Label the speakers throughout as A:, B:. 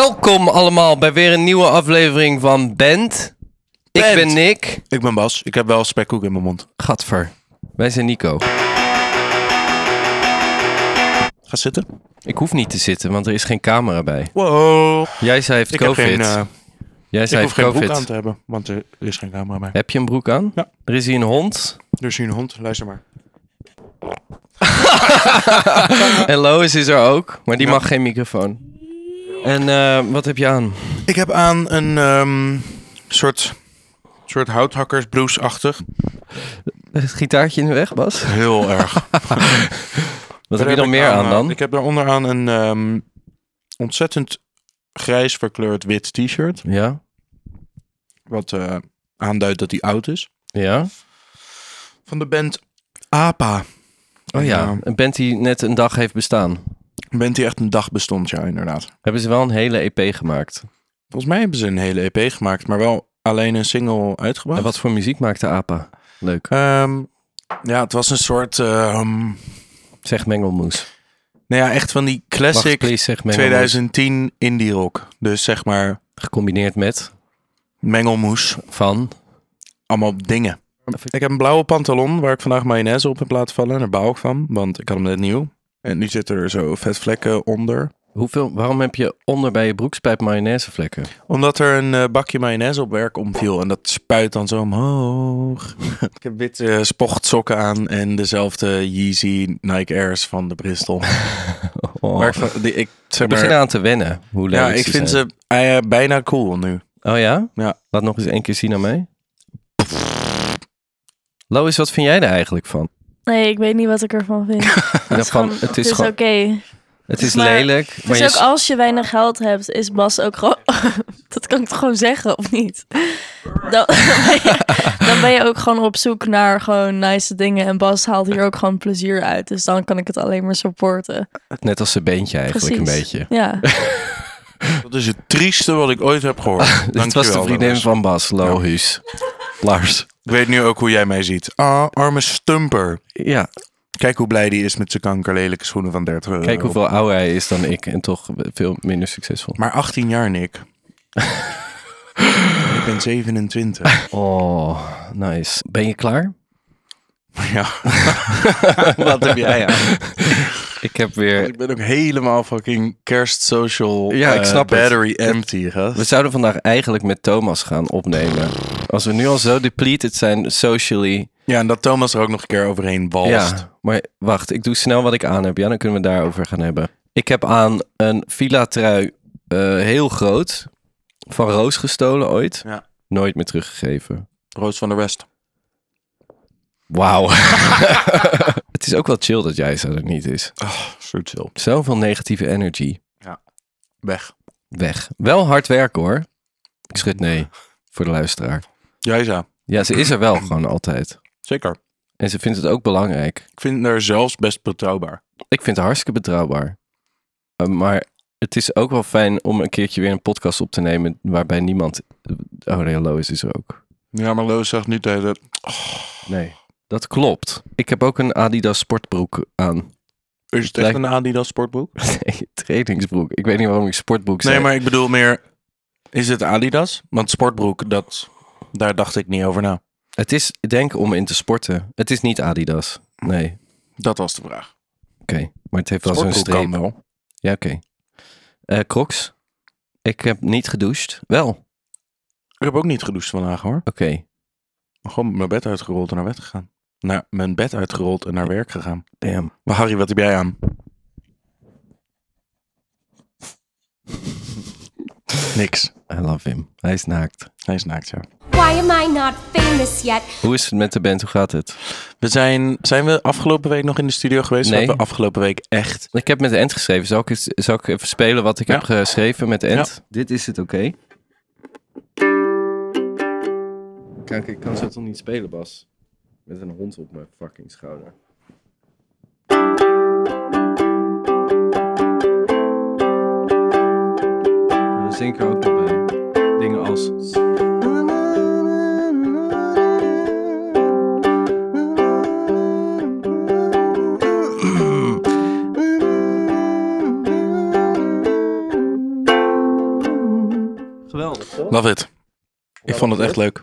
A: Welkom allemaal bij weer een nieuwe aflevering van Band. Ik
B: Bent.
A: ben Nick.
B: Ik ben Bas. Ik heb wel spekkoek in mijn mond.
A: Gadver. Wij zijn Nico.
B: Ga zitten.
A: Ik hoef niet te zitten, want er is geen camera bij.
B: Wow.
A: Jij zei heeft
B: Ik heb
A: COVID.
B: geen, eh,
A: Jij
B: ik
A: zei
B: hoef
A: heeft
B: geen broek aan
A: COVID.
B: te hebben, want er is geen camera bij.
A: Heb je een broek aan?
B: Ja.
A: Er is hier een hond.
B: Er is hier een hond. Luister maar.
A: En Lois is er ook, maar die
B: Ja.
A: mag geen microfoon. En eh, wat heb je aan?
B: Ik heb aan een ehm, soort, soort houthakkersblouse-achtig.
A: Het gitaartje in de weg, Bas?
B: Heel erg.
A: Wat
B: Daar
A: heb je dan
B: ik
A: meer aan
B: eh,
A: dan?
B: Ik heb daar onderaan een ehm, ontzettend grijs verkleurd wit t-shirt.
A: Ja?
B: Wat eh, aanduidt dat hij oud is.
A: Ja?
B: Van de band APA.
A: Oh ja,
B: Ja.
A: een band die net een dag heeft bestaan.
B: Een band die echt een dag bestond, ja inderdaad.
A: Hebben ze wel een hele EP gemaakt.
B: Volgens mij hebben ze een hele EP gemaakt, maar wel alleen een single uitgebracht.
A: En wat voor muziek maakte APA? Leuk.
B: Ehm, ja, het was een soort. ehm,
A: Zeg mengelmoes.
B: nou ja, echt van die
A: Wacht,
B: classic
A: please, zeg mengelmoes.
B: 2010 indie rock. Dus zeg maar
A: Gecombineerd met
B: mengelmoes.
A: van.
B: Allemaal dingen. Ik heb een blauwe pantalon waar ik vandaag mayonaise op heb laten vallen. En daar bouw ik van, want ik had hem net nieuw. En nu zitten er zo vetvlekken onder.
A: Hoeveel, waarom heb je onder bij je broekspijp mayonaisevlekken?
B: Omdat er een eh, bakje mayonaise op werk omviel en dat spuit dan zo omhoog. ik heb witte spochtsokken aan en dezelfde Yeezy Nike Airs van de Bristol.
A: Oh,
B: Maar ik, vind- die- ik, zeg
A: ik begin
B: maar,
A: aan te wennen. Hoe leuk
B: ja, ik vind
A: zijn.
B: ze eh, bijna cool nu.
A: Oh ja?
B: Ja.
A: Laat nog eens één keer zien aan mij. Lois, wat vind jij er eigenlijk van?
C: Nee, ik weet niet wat ik ervan vind. Het
A: Ja,
C: is
A: van,
C: gewoon-
A: het is
C: oké.
A: gewoon, het is
C: maar-
A: lelijk. Maar
C: Dus
A: je
C: ook
A: s-
C: als je weinig geld hebt, is Bas ook gewoon... dat kan ik toch gewoon zeggen, of niet? Dan ben, je, dan ben je ook gewoon op zoek naar gewoon nice dingen. En Bas haalt hier ook gewoon plezier uit. Dus dan kan ik het alleen maar supporten.
A: net als zijn beentje eigenlijk
C: Precies.
A: een beetje.
C: Ja,
B: Dat is het trieste wat ik ooit heb gehoord.
A: Dit was de
B: Dankjewel,
A: vriendin
B: Dennis.
A: van Bas, Lois. Lars.
B: Ik weet nu ook hoe jij mij ziet. Ah, arme stumper.
A: Ja,
B: Kijk hoe blij die is met zijn kankerlelijke schoenen van 30 euro.
A: kijk hoeveel ouder hij is dan ik en toch veel minder succesvol.
B: Maar 18 jaar, Nick. ik ben 27.
A: Oh, nice. Ben je klaar?
B: ja. Wat heb jij aan?
A: Ik heb weer.
B: Ik ben ook helemaal fucking kerstsocial.
A: Ja, ik
B: eh,
A: snap het.
B: battery empty,
A: We
B: gast.
A: zouden vandaag eigenlijk met Thomas gaan opnemen. Als we nu al zo depleted zijn socially.
B: Ja, en dat Thomas er ook nog een keer overheen walst.
A: Ja, maar wacht, ik doe snel wat ik aan heb. Ja, dan kunnen we het daarover gaan hebben. Ik heb aan een villa trui eh, heel groot van Roos gestolen ooit.
B: Ja.
A: Nooit meer teruggegeven.
B: Roos van de West.
A: Wauw. het is ook wel chill dat jij zo er niet is.
B: Zo chill.
A: Zoveel negatieve energy.
B: Weg.
A: Weg. Wel hard werken hoor. Ik schud nee voor de luisteraar.
B: Jij zou.
A: Ja, ze is er wel gewoon altijd.
B: Zeker.
A: En ze vindt het ook belangrijk.
B: Ik vind haar zelfs best betrouwbaar.
A: Ik vind het hartstikke betrouwbaar. Eh, maar het is ook wel fijn om een keertje weer een podcast op te nemen waarbij niemand... Oh nee, Lois is er ook.
B: Ja, maar Loos zegt niet tegen
A: Nee. Dat klopt. Ik heb ook een Adidas sportbroek aan.
B: Is het echt
A: Lijkt-
B: een Adidas sportboek?
A: Nee, trainingsbroek. Ik weet niet waarom ik sportbroek zei.
B: Nee, maar ik bedoel meer... Is het Adidas? Want sportbroek, dat, daar dacht ik niet over na.
A: Het is denk om in te sporten. Het is niet Adidas. Nee. Oké.
B: Dat was de vraag.
A: Maar het heeft wel zo'n
B: Sportbroek
A: streep.
B: kan wel.
A: Ja, oké. Eh, Crocs. Ik heb niet gedoucht. Wel. Oké.
B: Ik heb ook niet gedoucht vandaag, hoor. Gewoon mijn bed uitgerold en naar bed gegaan. Naar mijn bed uitgerold en naar werk gegaan.
A: Damn.
B: Maar Harry, wat heb jij aan? Niks.
A: I love him. Hij is naakt.
B: Hij is naakt, ja.
D: Why am I not famous yet?
A: Hoe is het met de band? Hoe gaat het?
B: We zijn, zijn we afgelopen week nog in de studio geweest?
A: Nee.
B: Hebben we afgelopen week echt...
A: Ik heb met de Ent geschreven. Zal ik, eens- zal ik even spelen wat ik
B: Ja.
A: heb geschreven met de Ent? Dit is het, oké? Kijk, ik kan zo toch niet spelen, Bas? Met een hond op mijn fucking schouder. Dan zing ik er ook nog bij. Dingen als... Geweldig,
B: Love it. Ik vond het echt leuk.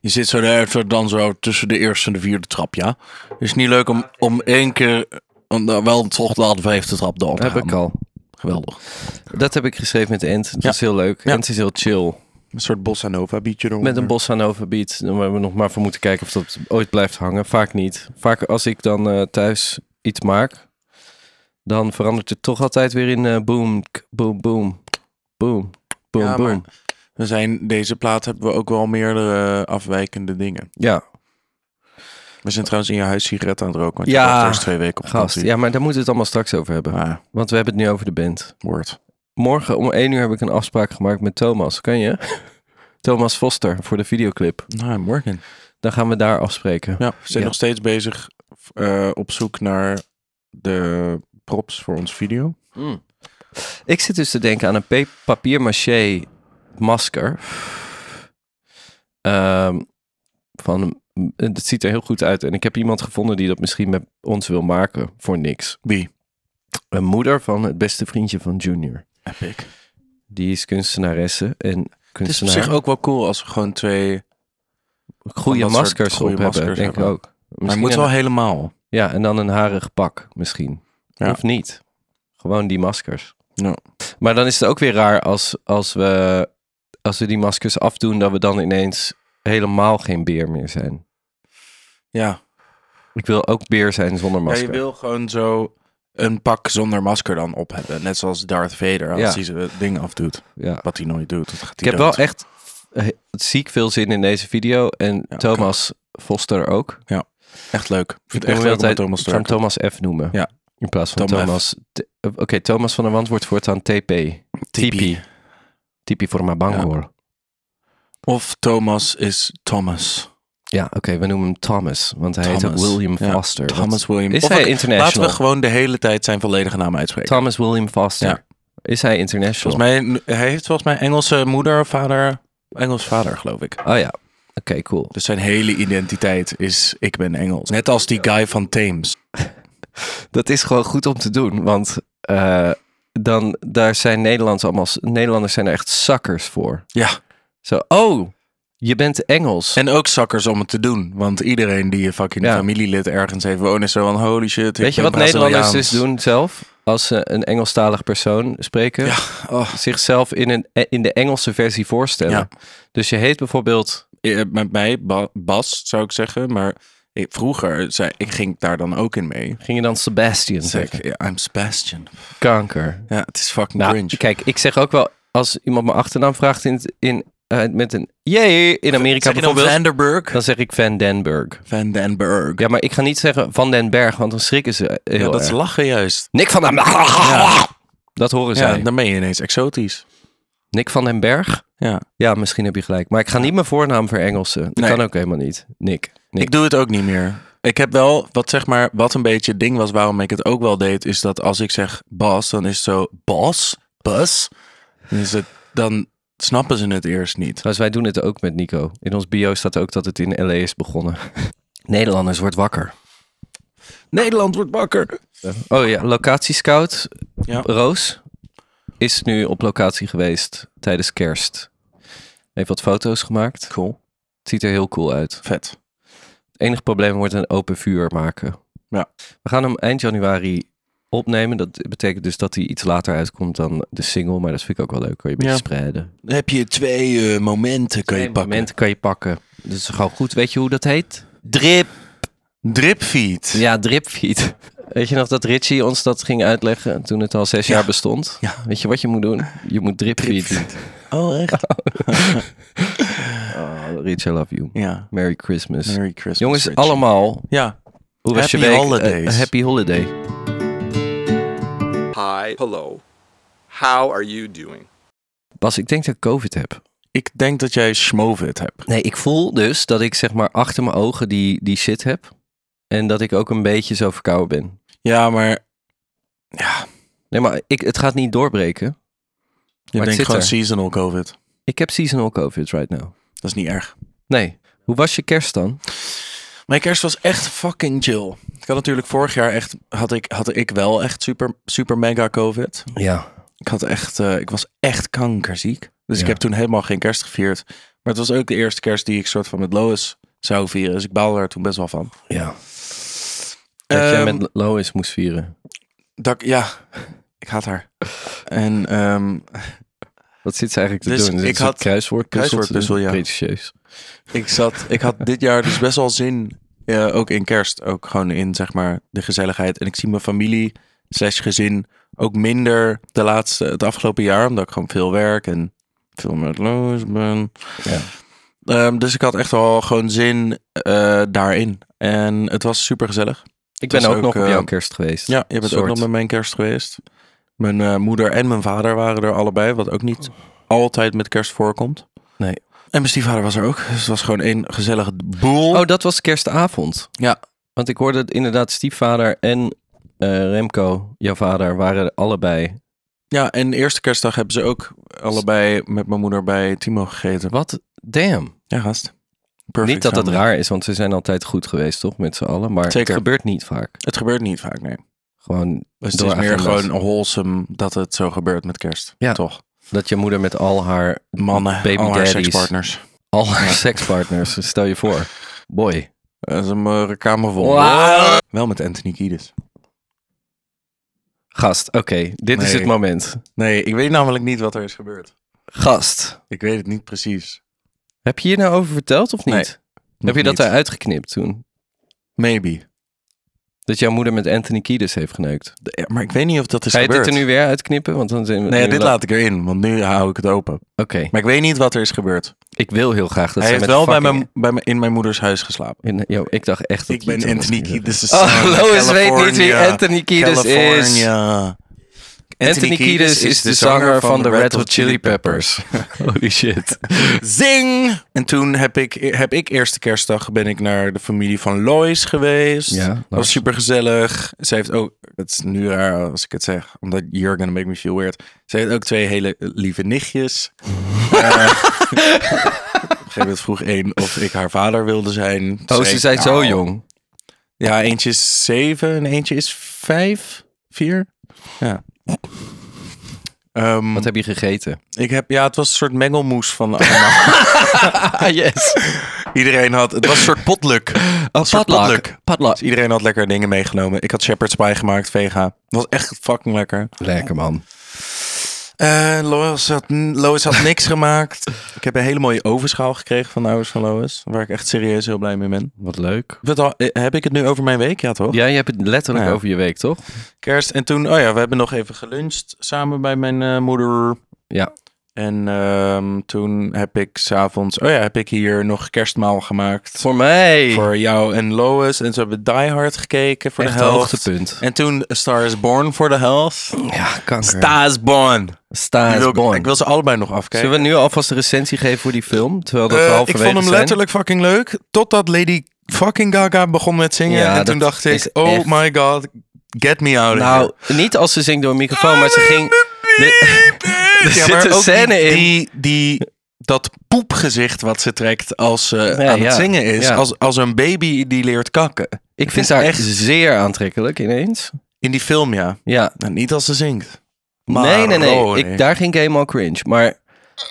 B: Je zit zo daar zo dan zo tussen de eerste en de vierde trap, ja. Het is niet leuk om, om één keer om dan wel toch de vijfde trap door te
A: Heb
B: gaan.
A: ik al.
B: Geweldig.
A: Dat heb ik geschreven met Ent. Dat
B: Ja.
A: is heel leuk.
B: Ja.
A: Ent is heel chill.
B: Een soort bossa nova biedje eronder.
A: Met een bossa nova beat. Daar hebben we nog maar voor moeten kijken of dat ooit blijft hangen. Vaak niet. Vaak als ik dan eh, thuis iets maak, dan verandert het toch altijd weer in eh, boom, k- boom, boom, boom, boom,
B: Ja, maar-
A: boom.
B: We zijn, deze plaat hebben we ook wel meerdere eh, afwijkende dingen.
A: Ja,
B: We zijn trouwens in je huis sigaretten aan het roken. Want
A: Ja,
B: je was twee weken op
A: gast.
B: vakantie.
A: Ja, maar daar moeten we het allemaal straks over hebben.
B: Ah,
A: Want we hebben het nu over de band.
B: woord.
A: Morgen om 1 uur heb ik een afspraak gemaakt met Thomas. Kan je? Thomas Foster voor de videoclip.
B: Nou, morgen.
A: Dan gaan we daar afspreken.
B: Ja, we zijn
A: Ja.
B: nog steeds bezig eh, op zoek naar de props voor ons video.
A: Ik zit dus te denken aan een pe- papier-maché masker. Ehm, van, het ziet er heel goed uit. En ik heb iemand gevonden die dat misschien met ons wil maken voor niks.
B: Wie?
A: Een moeder van het beste vriendje van Junior.
B: Epic.
A: Die is kunstenaresse en
B: Het is op
A: kunstenaar.
B: zich ook wel cool als we gewoon twee... van
A: goede
B: dat soort
A: maskers
B: goede
A: op hebben,
B: maskers
A: denk ik
B: hebben.
A: ook.
B: Maar
A: Misschien
B: moet
A: een-
B: wel helemaal.
A: Ja, en dan een harig pak misschien.
B: Ja.
A: Of niet. Gewoon die maskers.
B: Ja.
A: Maar dan is het ook weer raar als, als, we, als we die maskers afdoen, dat we dan ineens helemaal geen beer meer zijn.
B: Ja.
A: Ik wil ook beer zijn zonder
B: ja,
A: masker.
B: je wil gewoon zo een pak zonder masker dan op hebben. Net zoals Darth Vader als
A: Ja.
B: hij zijn ding afdoet.
A: Ja.
B: Wat hij nooit doet. Dat gaat
A: Ik heb wel echt eh, ziek veel zin in deze video. En
B: Ja,
A: Thomas Foster ook.
B: echt leuk. Ik vind
A: Ik
B: het echt
A: noem hem
B: leuk om
A: altijd-
B: Thomas
A: ik
B: te
A: zou hem
B: werken.
A: Thomas F noemen.
B: Ja.
A: In plaats van
B: Tom F.
A: Thomas. T- eh, Oké, Thomas van der Wand wordt voortaan TP.
B: Tipi.
A: Tipi. Tipi voor Mabangor.
B: Of Thomas is Thomas.
A: Ja, oké, we noemen hem Thomas, want hij heet ook
B: Thomas.
A: William
B: Ja,
A: Foster. Dat-
B: Thomas William.
A: Is
B: Of
A: hij
B: ik- Laten
A: international?
B: we gewoon de hele tijd zijn volledige naam uitspreken.
A: Thomas William Foster.
B: Ja.
A: Is hij international?
B: Volgens mij, hij heeft volgens mij Engelse moeder of vader. Engels vader, geloof ik.
A: Oh ja, oké, cool.
B: Dus zijn hele identiteit is ik ben Engels. Net als die guy van Thames.
A: Dat is gewoon goed om te doen, want eh, dan, daar zijn Nederlanders allemaal, Nederlanders zijn er echt zakkers voor.
B: Ja.
A: Zo, oh, je bent Engels.
B: En ook zakkers om het te doen. Want iedereen die je fucking
A: Ja.
B: familielid ergens heeft wonen is zo van holy shit. ik
A: Weet je
B: ben
A: wat Nederlanders dus
B: Braziliaans.
A: doen zelf? Als ze een Engelstalig persoon spreken,
B: Ja, oh.
A: zichzelf in, een, eh, in de Engelse versie voorstellen. Dus je heet bijvoorbeeld
B: Eh, Met mij, Ba- Bas zou ik zeggen. Maar ik, vroeger, zei, ik ging daar dan ook in mee.
A: Ging je dan Sebastian
B: Zeg,
A: zeggen?
B: I'm Sebastian.
A: Kanker.
B: Ja, het is fucking
A: Nou,
B: cringe.
A: kijk, ik zeg ook wel, als iemand mijn achternaam vraagt in, het- in, eh, met een jee in Amerika
B: Zeg je dan
A: bijvoorbeeld,
B: Vandenberg?
A: dan zeg ik Van Denberg.
B: Van den Berg.
A: Ja, maar ik ga niet zeggen Van den Berg, want dan schrikken ze heel
B: Ja, dat is
A: erg.
B: lachen juist.
A: Nick van den Dat horen
B: Ja,
A: zij.
B: dan ben je ineens exotisch.
A: Nick van den Berg?
B: Ja.
A: Ja, misschien heb je gelijk. Maar ik ga niet mijn voornaam verengelsen. Dat
B: Nee.
A: kan ook helemaal niet. Nick. Nick.
B: Ik doe het ook niet meer. Ik heb wel, wat zeg maar, wat een beetje het ding was waarom ik het ook wel deed, is dat als ik zeg Bas, dan is het zo Bas, Bas. Dan, is het, dan snappen ze het eerst niet.
A: Trouwens, wij doen het ook met Nico. In ons bio staat ook dat het in L.A. is begonnen. Nederlanders wordt wakker.
B: Nederland wordt wakker.
A: Oh ja, locatiescout
B: Ja.
A: Roos is nu op locatie geweest tijdens kerst. Heeft wat foto's gemaakt.
B: Cool.
A: Het ziet er heel cool uit.
B: Vet.
A: Het enige probleem wordt een open vuur maken.
B: Ja.
A: We gaan hem eind januari opnemen. Dat betekent dus dat hij iets later uitkomt dan de single. Maar dat vind ik ook wel leuk. Kan je een
B: Ja.
A: beetje spreiden.
B: Dan heb je twee eh, momenten kan je
A: Twee
B: pakken.
A: momenten kan je pakken. Dat is gewoon goed. Weet je hoe dat heet? Drip.
B: Dripfeed.
A: Ja, dripfeed. Weet je nog dat Richie ons dat ging uitleggen toen het al zes
B: Ja.
A: jaar bestond?
B: Ja.
A: Weet je wat je moet doen? Je moet dripfeed.
B: Dripfeed. Oh, echt?
A: Oh, Rich, I love you.
B: Ja.
A: Merry Christmas.
B: Merry Christmas.
A: Jongens,
B: Richie.
A: allemaal.
B: Ja.
A: Hoe was je
B: Happy
A: week?
B: holidays.
A: Eh, happy holiday.
E: Hi, hello. How are you doing?
A: Bas, ik denk dat ik COVID heb.
B: Ik denk dat jij schmovid hebt.
A: Nee, ik voel dus dat ik zeg maar achter mijn ogen die, die shit heb. En dat ik ook een beetje zo verkouden ben.
B: Ja, maar
A: Nee, maar ik, het gaat niet doorbreken.
B: je
A: Maar het
B: denkt
A: zit
B: gewoon
A: er.
B: seasonal covid.
A: Ik heb seasonal COVID right now.
B: Dat is niet erg.
A: Nee. Hoe was je kerst dan?
B: Mijn kerst was echt fucking chill. Ik had natuurlijk vorig jaar echt, had ik, had ik wel echt super, super mega COVID.
A: Ja.
B: Ik, had echt, eh, ik was echt kankerziek. Dus ik
A: Ja.
B: heb toen helemaal geen kerst gevierd. Maar het was ook de eerste kerst die ik soort van met Lois zou vieren. Dus ik baalde er toen best wel van.
A: Ja. Dat jij
B: Ehm,
A: met Lois moest vieren.
B: dat, ik- ja, ik haat haar. En ehm,
A: Wat zit ze eigenlijk te
B: dus
A: doen? Is
B: ik
A: ik had
B: had-
A: kruiswoordpuzzel.
B: kruiswoordpuzzel, ja.
A: Pretentieus.
B: ik, zat, ik had dit jaar dus best wel zin, ja, ook in kerst, ook gewoon in zeg maar de gezelligheid. En ik zie mijn familie slash gezin ook minder de laatste, het afgelopen jaar, omdat ik gewoon veel werk en veel met loos ben.
A: Ja.
B: Ehm, dus ik had echt wel gewoon zin eh, daarin. En het was super gezellig.
A: Ik
B: Dat
A: ben
B: is
A: ook,
B: ook,
A: nog op
B: eh,
A: jouw kerst geweest.
B: Ja, je bent ook
A: Soort.
B: nog met mijn kerst geweest. Mijn eh, moeder en mijn vader waren er allebei, wat ook niet altijd met kerst voorkomt.
A: Nee.
B: En mijn stiefvader was er ook. Dus het was gewoon één gezellige boel.
A: Oh, dat was kerstavond.
B: Ja.
A: Want ik hoorde het inderdaad stiefvader en eh, Remco, jouw vader, waren allebei.
B: Ja, en de eerste kerstdag hebben ze ook allebei met mijn moeder bij Timo gegeten.
A: Wat? Damn.
B: Ja, gast. Perfect
A: niet dat dat
B: samen.
A: raar is, want ze zijn altijd goed geweest, toch? Met z'n allen. Maar het
B: Zeker.
A: gebeurt niet vaak.
B: Het gebeurt niet vaak, nee.
A: Gewoon
B: Dus het
A: Door
B: is meer
A: agenda's.
B: gewoon wholesome dat het zo gebeurt met kerst.
A: Ja.
B: Toch?
A: dat je moeder met al haar
B: Mannen,
A: Baby
B: al haar
A: daddies.
B: sekspartners.
A: Al haar sekspartners, stel je voor. Boy.
B: Dat is een eh, kamer vol.
A: Wow.
B: Wel met Anthony Kiedis.
A: Gast, oké, dit is
B: Nee.
A: het moment.
B: Nee, ik weet namelijk niet wat er is gebeurd.
A: Gast.
B: Ik weet het niet precies.
A: Heb je hier nou over verteld of niet?
B: Nee,
A: Heb je dat
B: daar?
A: eruit geknipt toen?
B: Maybe.
A: Dat jouw moeder met Anthony Kiedis heeft geneukt.
B: De- ja, maar ik weet niet of dat is
A: Ga je
B: gebeurd.
A: dit er nu weer uitknippen? Want dan zijn we
B: Nee,
A: nu
B: dit
A: la-
B: laat ik erin, want nu hou ik het open.
A: Oké,
B: Maar ik weet niet wat er is gebeurd.
A: ik wil heel graag dat
B: Hij
A: zij
B: heeft
A: met
B: wel bij
A: fucking-
B: mijn, bij mijn, in mijn moeders huis geslapen.
A: In, yo, ik dacht echt dat
B: Ik
A: je
B: ben
A: het was.
B: Anthony Kiedis.
A: Oh, Lois weet niet wie Anthony Kiedis is. Anthony Kiedis is de zanger van de Red Hot Chili Peppers. Holy shit.
B: Zing! En toen heb ik, heb ik eerste kerstdag ben ik naar de familie van Lois geweest.
A: Ja,
B: dat
A: Lois.
B: was super gezellig. Ze heeft ook, het is nu raar als ik het zeg, omdat you're gonna make me feel weird. Ze heeft ook twee hele lieve nichtjes. Eh, op een gegeven moment vroeg één of ik haar vader wilde zijn. Toen
A: Oh, ze
B: ik,
A: zijn zo
B: nou,
A: jong.
B: Ja, eentje is zeven en eentje is vijf, vier. Ja. Ehm,
A: Wat heb je gegeten?
B: ik heb, ja, het was een soort mengelmoes van allemaal.
A: Ah, yes.
B: Iedereen had, het was een soort potluk. Een soort
A: Padlak. Padlak.
B: Dus iedereen had lekker dingen meegenomen. Ik had shepherd's pie gemaakt, vega. Het was echt fucking lekker.
A: Lekker man.
B: Eh, Lois, had, Lois had niks gemaakt. Ik heb een hele mooie ovenschaal gekregen van de ouders van Lois. Waar ik echt serieus heel blij mee ben.
A: Wat leuk.
B: Wat al- eh, Heb ik het nu over mijn week? Ja, toch?
A: Ja, je hebt het letterlijk
B: Ja.
A: over je week, toch?
B: Kerst. En toen, oh ja, we hebben nog even geluncht samen bij mijn eh, moeder.
A: Ja.
B: En ehm, toen heb ik s'avonds, oh ja, heb ik hier nog kerstmaal gemaakt.
A: Voor mij.
B: Voor jou en Lois. En zo hebben we Die Hard gekeken voor
A: Echt
B: de helft.
A: hoogtepunt.
B: En toen A Star is Born voor de helft.
A: Ja, kanker.
B: is Born.
A: Sta
B: Ik
A: is
B: wil,
A: born.
B: ik wil ze allebei nog afkijken.
A: Zullen we nu alvast een recensie geven voor die film? Terwijl dat we
B: Eh,
A: halverwege
B: ik vond hem
A: zijn?
B: letterlijk fucking leuk. Totdat Lady fucking Gaga begon met zingen.
A: Ja,
B: en toen
A: dat
B: dacht ik,
A: is
B: oh
A: echt-
B: my god, get me out of
A: Nou, niet als ze zingt door een microfoon, maar ze
B: Ah,
A: ging... De-
B: here.
A: er zit een
B: ook die-
A: scène in.
B: Die, die, dat poepgezicht wat ze trekt als ze
A: Nee,
B: aan
A: ja.
B: het zingen is.
A: Ja.
B: Als, als een baby die leert kakken.
A: Ik vind
B: is
A: haar echt
B: echt-
A: zeer aantrekkelijk ineens.
B: In die film, ja.
A: Ja.
B: Nou, niet als ze zingt. Maar,
A: nee, nee, nee.
B: oh,
A: Ik, daar ging ik helemaal cringe. Maar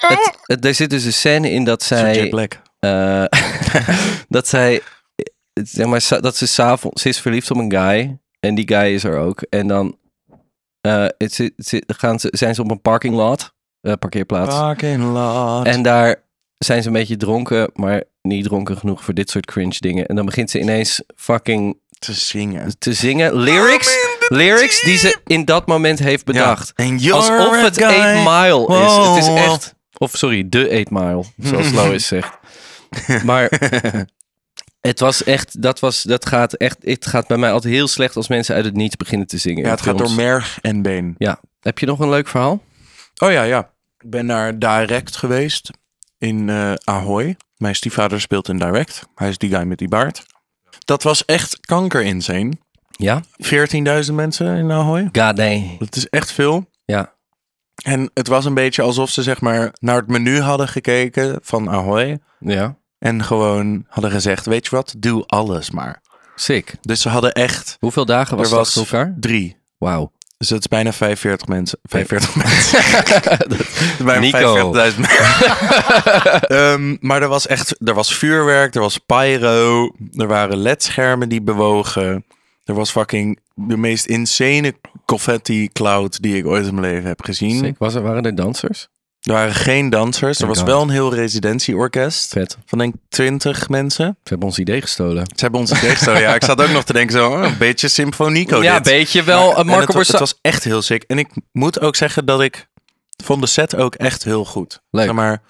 A: het, het- er zit dus een scène in dat
B: Sir
A: zij...
B: Jack Black.
A: Eh, dat zij, eh, zeg maar, sa- dat ze s'avonds, ze is verliefd op een guy en die guy is er ook. En dan eh, het, zit- het zit- gaan ze, zijn ze op een parking lot, eh, parkeerplaats.
B: Fucking lot.
A: En daar zijn ze een beetje dronken, maar niet dronken genoeg voor dit soort cringe dingen. En dan begint ze ineens fucking
B: te zingen.
A: te zingen. Lyrics,
B: I'm in the
A: lyrics die ze
B: deep.
A: in dat moment heeft bedacht.
B: En you're
A: Alsof
B: a
A: het
B: guy. Oh.
A: 8 Mile is.
B: Wow,
A: Het
B: wow.
A: is echt... Of sorry, de 8 Mile, zoals Lois zegt. Maar het was echt... Dat, was, dat gaat echt... Het gaat bij mij altijd heel slecht als mensen uit het niets beginnen te zingen.
B: Ja,
A: in
B: het gaat
A: films.
B: door merg en been.
A: Ja. Heb je nog een leuk verhaal?
B: Oh ja, ja. Ik ben naar Direct geweest in eh Ahoy. Mijn stiefvader speelt in Direct. Hij is die guy met die baard. Dat was echt kanker insane.
A: Ja?
B: 14.000 mensen in Ahoy.
A: God, nee.
B: Dat is echt veel.
A: Ja.
B: En het was een beetje alsof ze zeg maar naar het menu hadden gekeken van Ahoy.
A: Ja.
B: En gewoon hadden gezegd, weet je wat, doe alles maar.
A: Sick.
B: Dus ze hadden echt,
A: Hoeveel dagen was
B: er
A: dat
B: was
A: elkaar?
B: drie.
A: Wauw.
B: Dus dat is bijna 45 mensen. 45 mensen. dat is bijna
A: Nico.
B: 45.000 mensen. Ehm, maar er was echt er was vuurwerk, er was pyro, er waren ledschermen die bewogen. Er was fucking de meest insane confetti cloud die ik ooit in mijn leven heb gezien.
A: Sick. Was er, waren er dansers?
B: Er waren geen dansers. Er
A: Thank
B: was
A: God.
B: wel een heel residentieorkest
A: Vet.
B: van denk ik 20 mensen.
A: Ze hebben ons idee gestolen.
B: Ze hebben onze texto. oh ja, ik zat ook nog te denken zo, oh, een beetje symfonico Oh, dit.
A: beetje
B: Maar- en het, wa- het was echt heel sick. En ik moet ook zeggen dat ik vond de set ook echt heel goed.
A: Leuk.
B: Zeg maar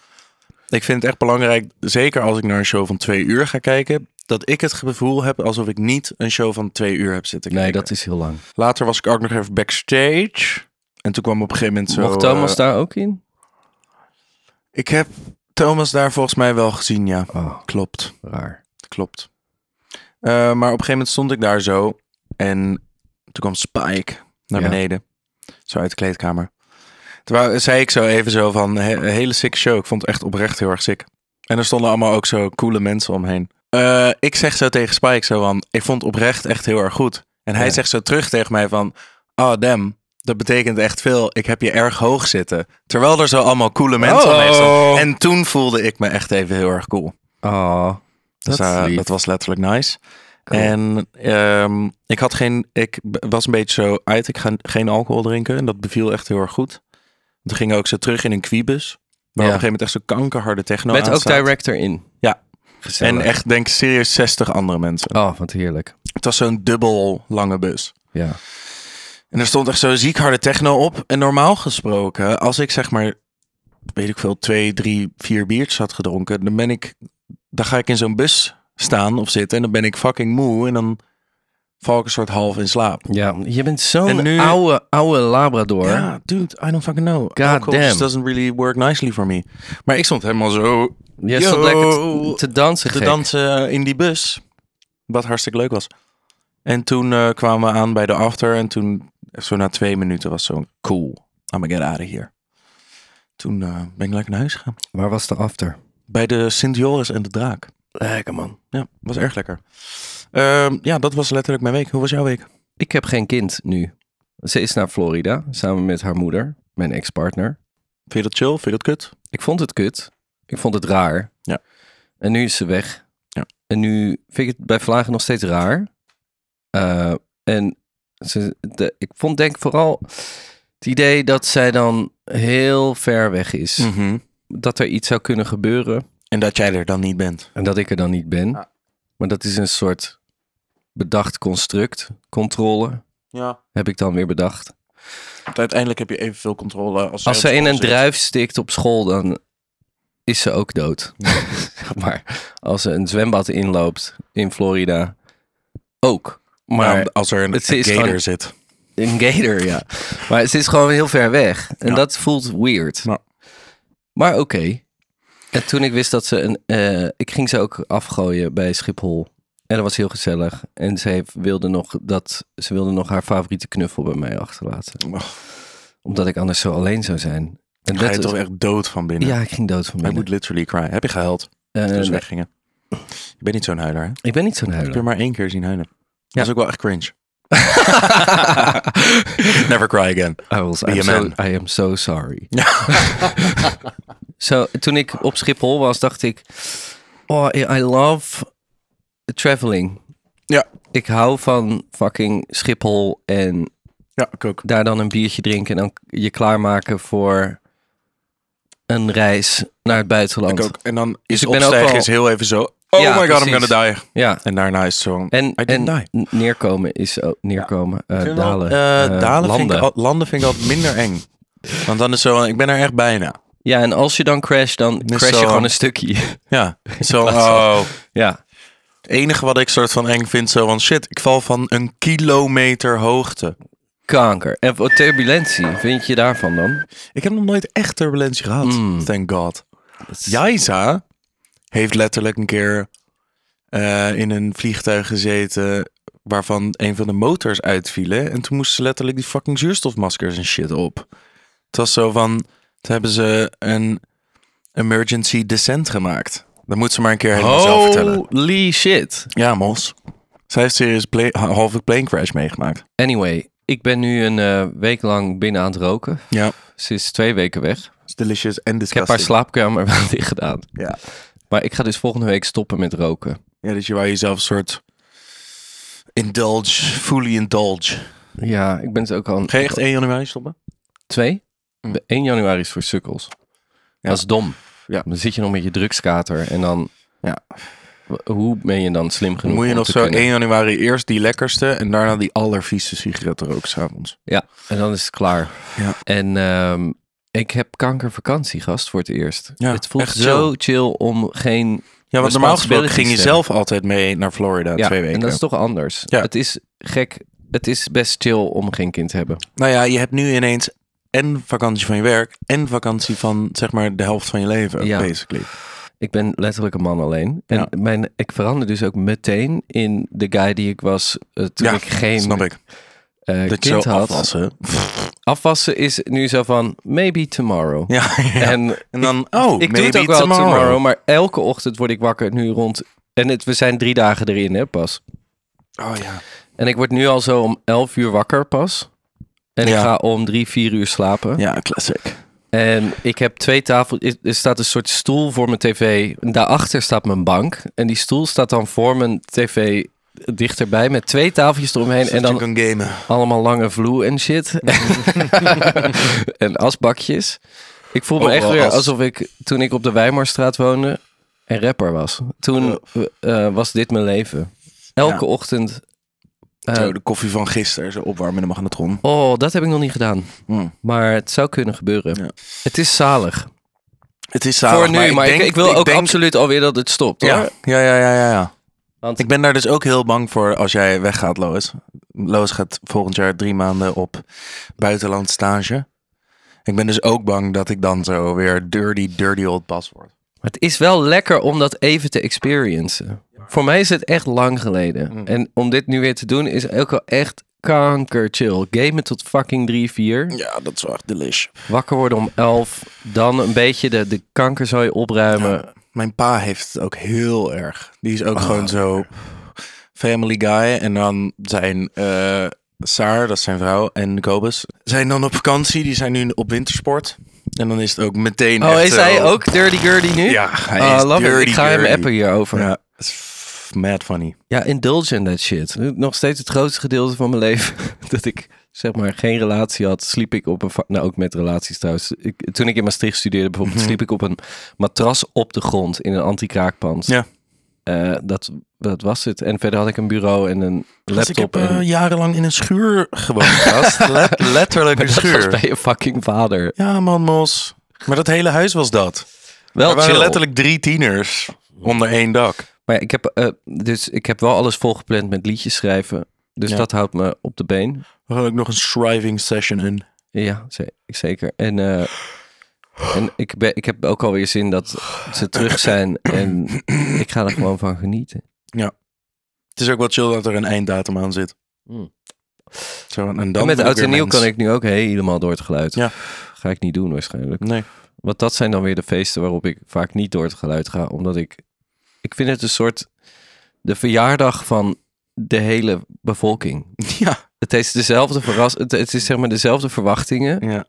B: ik vind het echt belangrijk, zeker als ik naar een show van twee uur ga kijken, dat ik het gevoel heb alsof ik niet een show van twee uur heb zitten kijken.
A: Nee, dat is heel lang.
B: Later was ik ook nog even backstage. En toen kwam op een gegeven moment zo...
A: Mocht Thomas
B: eh,
A: daar ook in?
B: Ik heb Thomas daar volgens mij wel gezien, ja.
A: Oh,
B: Klopt.
A: raar.
B: Klopt. Eh, maar op een gegeven moment stond ik daar zo. En toen kwam Spike naar
A: Ja.
B: beneden. Zo uit de kleedkamer. Toen wou- zei ik zo even zo van, he- een hele sick show. Ik vond het echt oprecht heel erg sick. En er stonden allemaal ook zo coole mensen omheen. Eh, ik zeg zo tegen Spike zo van, ik vond het oprecht echt heel erg goed. En hij
A: Ja.
B: zegt zo terug tegen mij van, oh damn, dat betekent echt veel. Ik heb je erg hoog zitten. Terwijl er zo allemaal coole mensen
A: Oh.
B: omheen stonden. En toen voelde ik me echt even heel erg cool.
A: Oh,
B: Dus
A: dat is
B: eh,
A: lief.
B: dat was letterlijk nice.
A: Cool.
B: En ehm, ik had geen, ik b- was een beetje zo uit. Ik ga geen alcohol drinken en dat beviel echt heel erg goed. Toen gingen we ook zo terug in een quibus. Waar
A: Ja.
B: op een gegeven moment echt zo kankerharde techno
A: Met
B: aan
A: ook
B: staat.
A: director in.
B: Ja.
A: Gezellig.
B: En echt denk ik, serieus 60 andere mensen.
A: Oh, wat heerlijk.
B: Het was zo'n dubbel lange bus.
A: Ja.
B: En er stond echt zo ziek harde techno op. En normaal gesproken, als ik zeg maar, weet ik veel, twee, drie, vier biertjes had gedronken, dan ben ik, dan ga ik in zo'n bus staan of zitten en dan ben ik fucking moe en dan val ik een soort half in slaap.
A: Ja, je bent zo'n
B: En nu-
A: oude, oude Labrador.
B: Ja, dude, I don't fucking know.
A: God
B: Alcohol just
A: damn.
B: doesn't really work nicely for me. Maar ik stond helemaal zo
A: Je
B: Yo.
A: stond lekker te, te dansen,
B: te
A: gek.
B: dansen eh, in die bus. Wat hartstikke leuk was. En toen eh, kwamen we aan bij de after. En toen, zo na twee minuten, was zo'n cool. I'm gonna get out of here. Toen eh, ben ik lekker naar huis gegaan.
A: Waar was de after?
B: Bij de Sint Joris en de Draak.
A: Lekker man.
B: Ja, was erg lekker. Ehm, ja, dat was letterlijk mijn week. Hoe was jouw week?
A: Ik heb geen kind nu. Ze is naar Florida samen met haar moeder, mijn ex-partner.
B: Vind je dat chill? Vind je dat kut?
A: Ik vond het kut. Ik vond het raar.
B: Ja.
A: En nu is ze weg.
B: Ja.
A: En nu vind ik het bij vlagen nog steeds raar. Eh, en ze, de- ik vond denk ik vooral het idee dat zij dan heel ver weg is.
B: Hm.
A: Dat er iets zou kunnen gebeuren
B: Mhm. En dat jij er dan niet bent.
A: en dat ik er dan niet ben. Maar dat is een soort bedacht construct. Controle
B: Ja.
A: heb ik dan weer bedacht.
B: Uiteindelijk heb je evenveel controle als,
A: Als ze in een druif stikt op school, dan is ze ook dood. Zeg maar als ze een zwembad inloopt in Florida, ook. Maar
B: Maar als er een,
A: het
B: een
A: is
B: gator
A: gewoon-
B: zit.
A: een gator, ja. Maar ze is gewoon heel ver weg. En
B: Ja.
A: dat voelt weird.
B: Ja.
A: Maar oké. En toen ik wist dat ze een... eh, ik ging ze ook afgooien bij Schiphol. En dat was heel gezellig. En ze heeft- wilde nog, dat, ze wilde nog haar favoriete knuffel bij mij achterlaten.
B: Oh.
A: Omdat ik anders zo alleen zou zijn. En
B: Ga je
A: dat-
B: toch echt dood van binnen?
A: Ja, ik ging dood van
B: I
A: binnen.
B: would literally cry. Heb je gehuild
A: Eh,
B: toen ze
A: nee,
B: Dus weggingen? Ik ben niet zo'n huiler, hè? Ik
A: ik ben niet zo'n
B: heb je
A: huiler.
B: maar één keer zien huilen. Dat is ook wel echt cringe. Never cry again.
A: I, was,
B: Be
A: I'm
B: a
A: so,
B: man.
A: I am so sorry. Zo, toen ik op Schiphol was, dacht ik... Oh, I I love traveling.
B: Ja.
A: Ik hou van fucking Schiphol en
B: Ja, ik ook.
A: daar dan een biertje drinken... en dan je klaarmaken voor een reis naar het buitenland.
B: Ik ook. En dan is
A: dus ik ben ook
B: opstijgen
A: wel-
B: is heel even zo... Oh
A: Ja,
B: my god, I'm
A: precies.
B: gonna die.
A: Ja.
B: En daarna is het zo...
A: En,
B: I didn't
A: en
B: die.
A: n- neerkomen is ook... Neerkomen, eh, dalen. eh,
B: dalen vind
A: landen.
B: ik, al- landen vind ik altijd minder eng. Want dan is zo... Ik ben er echt bijna.
A: Ja, en als je dan crasht, dan
B: Is
A: crash je
B: zo-
A: gewoon een stukje.
B: Ja. Zo... Oh.
A: ja.
B: Het enige wat ik soort van eng vind, zo van shit, ik val van een kilometer hoogte.
A: Kanker. En wat turbulentie, vind je daarvan dan?
B: Ik heb nog nooit echt turbulentie gehad.
F: Mm.
B: Thank God. Jaisa heeft letterlijk een keer eh, in een vliegtuig gezeten waarvan een van de motors uitvielen. En toen moesten ze letterlijk die fucking zuurstofmaskers en shit op. Het was zo van, toen hebben ze een emergency descent gemaakt. Dat moet ze maar een keer helemaal
F: Oh.
B: zelf vertellen.
A: Holy shit.
B: Ja, mos. Zij heeft serieus pla- halve plane crash meegemaakt.
A: Anyway, Ik ben nu een eh, week lang binnen aan het roken.
B: Ja.
A: Ze is twee weken weg.
F: It's delicious en
A: Ik heb haar
F: disgusting.
A: slaapkamer wel dicht gedaan.
F: Ja.
A: Maar ik ga dus volgende week stoppen met roken.
B: Ja, dat je waar jezelf een soort indulge, fully indulge.
A: Ja, ik ben het ook al...
B: Ga je echt 1 januari stoppen?
A: Twee?
B: Hm.
A: 1 januari is voor sukkels. Dat is dom.
B: Ja.
A: Dan zit je nog met je drugskater en dan...
B: Ja.
A: W- Hoe ben je dan slim genoeg
B: Moet je
A: om
B: nog
A: te
B: zo
A: kunnen-
B: 1 januari eerst die lekkerste en daarna die allervieste sigaret roken s'avonds.
A: Ja, en dan is het klaar.
B: Ja.
A: En ehm, ik heb kankervakantie, gast, voor het eerst.
B: Ja,
A: het voelt
B: echt
A: zo chill om geen...
B: Ja, want normaal gesproken
A: responsibilities
B: Dus ging je
A: te hebben.
B: zelf altijd mee naar Florida
A: Ja,
B: twee weken.
A: en dat is toch anders.
B: Ja.
A: Het is gek. Het is best chill om geen kind te hebben.
B: Nou ja, je hebt nu ineens en vakantie van je werk en vakantie van zeg maar de helft van je leven,
A: Ja.
B: basically.
A: Ik ben letterlijk een man alleen. En
B: Ja.
A: mijn, ik verander dus ook meteen in de guy die ik was eh, toen
B: Ja,
A: ik geen
B: Snap ik.
A: eh,
B: Dat je
A: kind
B: zo
A: had.
B: afwassen.
A: Afwassen is nu zo van maybe tomorrow.
B: Ja, ja. En,
A: En
B: dan, oh,
A: ik doe
B: maybe
A: het ook wel
B: tomorrow.
A: tomorrow. maar elke ochtend word ik wakker nu rond. En het, we zijn drie dagen erin, hè, pas.
B: Oh ja.
A: En ik word nu al zo om elf uur wakker, pas. En ik
B: Ja.
A: ga om drie, vier uur slapen.
B: Ja, classic.
A: En ik heb twee tafels. Er staat een soort stoel voor mijn tv. En Daarachter staat mijn bank. En die stoel staat dan voor mijn tv dichterbij met twee tafeltjes eromheen. En dan
B: kan gamen.
A: allemaal lange vloe en shit. en asbakjes. Ik voel me
B: Ook
A: echt
B: Oh, wel
A: weer
B: as.
A: alsof ik toen ik op de Wijmarstraat woonde en rapper was. Toen
B: Oh.
A: eh, eh, was dit mijn leven. Elke ochtend. eh,
B: Zo, de koffie van gisteren, zo opwarmen in de magnetron.
A: oh, dat heb ik nog niet gedaan.
B: Mm.
A: Maar het zou kunnen gebeuren.
B: Ja.
A: Het is zalig.
B: Het is zalig,
A: voor nu, maar ik,
B: denk-
A: ik, wil ook
B: denk-
A: absoluut alweer dat het stopt.
B: Ja,
A: hoor.
B: ja, ja, ja, ja, ja.
A: Want
B: Ik ben daar dus ook heel bang voor als jij weggaat, Lois. Lois gaat volgend jaar drie maanden op buitenland stage. Ik ben dus ook bang dat ik dan zo weer dirty, dirty old pas word.
A: het is wel lekker om dat even te experiencen. Voor mij is het echt lang geleden.
B: Hmm.
A: En om dit nu weer te doen is ook wel echt kanker chill. Gamen tot fucking 3, 4.
B: Ja, dat is wel echt delish.
A: Wakker worden om 11. Dan een beetje de, de kankerzooi opruimen.
B: Mijn pa heeft het ook heel erg. Die is ook
A: Ah,
B: gewoon zo family guy. En dan zijn eh, Saar, dat is zijn vrouw, en Kobus zijn dan op vakantie. Die zijn nu op wintersport. En dan is het ook meteen
A: Oh,
B: echt
A: is
B: zo-
A: hij ook Dirty Gurdy nu?
B: Ja, hij
A: Ah,
B: is
A: love it.
B: dirty,
A: Ik ga hem
B: dirty.
A: appen hierover.
B: Ja,
A: Ja,
B: dat is f- mad funny.
A: ja indulge in that shit. Nog steeds het grootste gedeelte van mijn leven. dat ik zeg maar geen relatie had. Sliep ik op een... va- Nou, ook met relaties trouwens. Ik, toen ik in Maastricht studeerde bijvoorbeeld...
B: Mhm.
A: sliep ik op een matras op de grond in een anti-kraakpand.
B: Ja.
A: Eh, dat, dat was het. En verder had ik een bureau en een
B: Dus ik
A: laptop.
B: heb eh,
A: en,
B: jarenlang in een schuur gewoond. gast. Let- letterlijk een
A: dat was
B: schuur.
A: bij je fucking vader.
B: Ja, man, mos. Maar dat hele huis was dat.
A: Wel
B: Er waren
A: chill.
B: letterlijk drie tieners onder één dak.
A: Maar ja, ik heb, eh, dus ik heb wel alles volgepland met liedjes schrijven. Dus
B: Ja.
A: dat houdt me op de been.
B: We gaan ook nog een striving session in.
A: Ja, ze- zeker. En, eh, en ik, ben, ik heb ook alweer zin dat ze terug zijn. En ik ga er gewoon van genieten.
B: Het is ook wel chill dat er een einddatum aan zit.
A: Hmm.
B: Zo, en dan
A: en met
B: ben ik
A: oud
B: weer
A: en nieuw
B: mens.
A: kan ik nu ook helemaal door het geluid.
B: Ja.
A: Ga ik niet doen waarschijnlijk.
B: Nee.
A: Want dat zijn dan weer de feesten waarop ik vaak niet door het geluid ga. Omdat ik... Ik vind het een soort... De verjaardag van de hele bevolking.
B: Ja.
A: Het is dezelfde verras... Het, het is zeg maar dezelfde verwachtingen.
B: ja.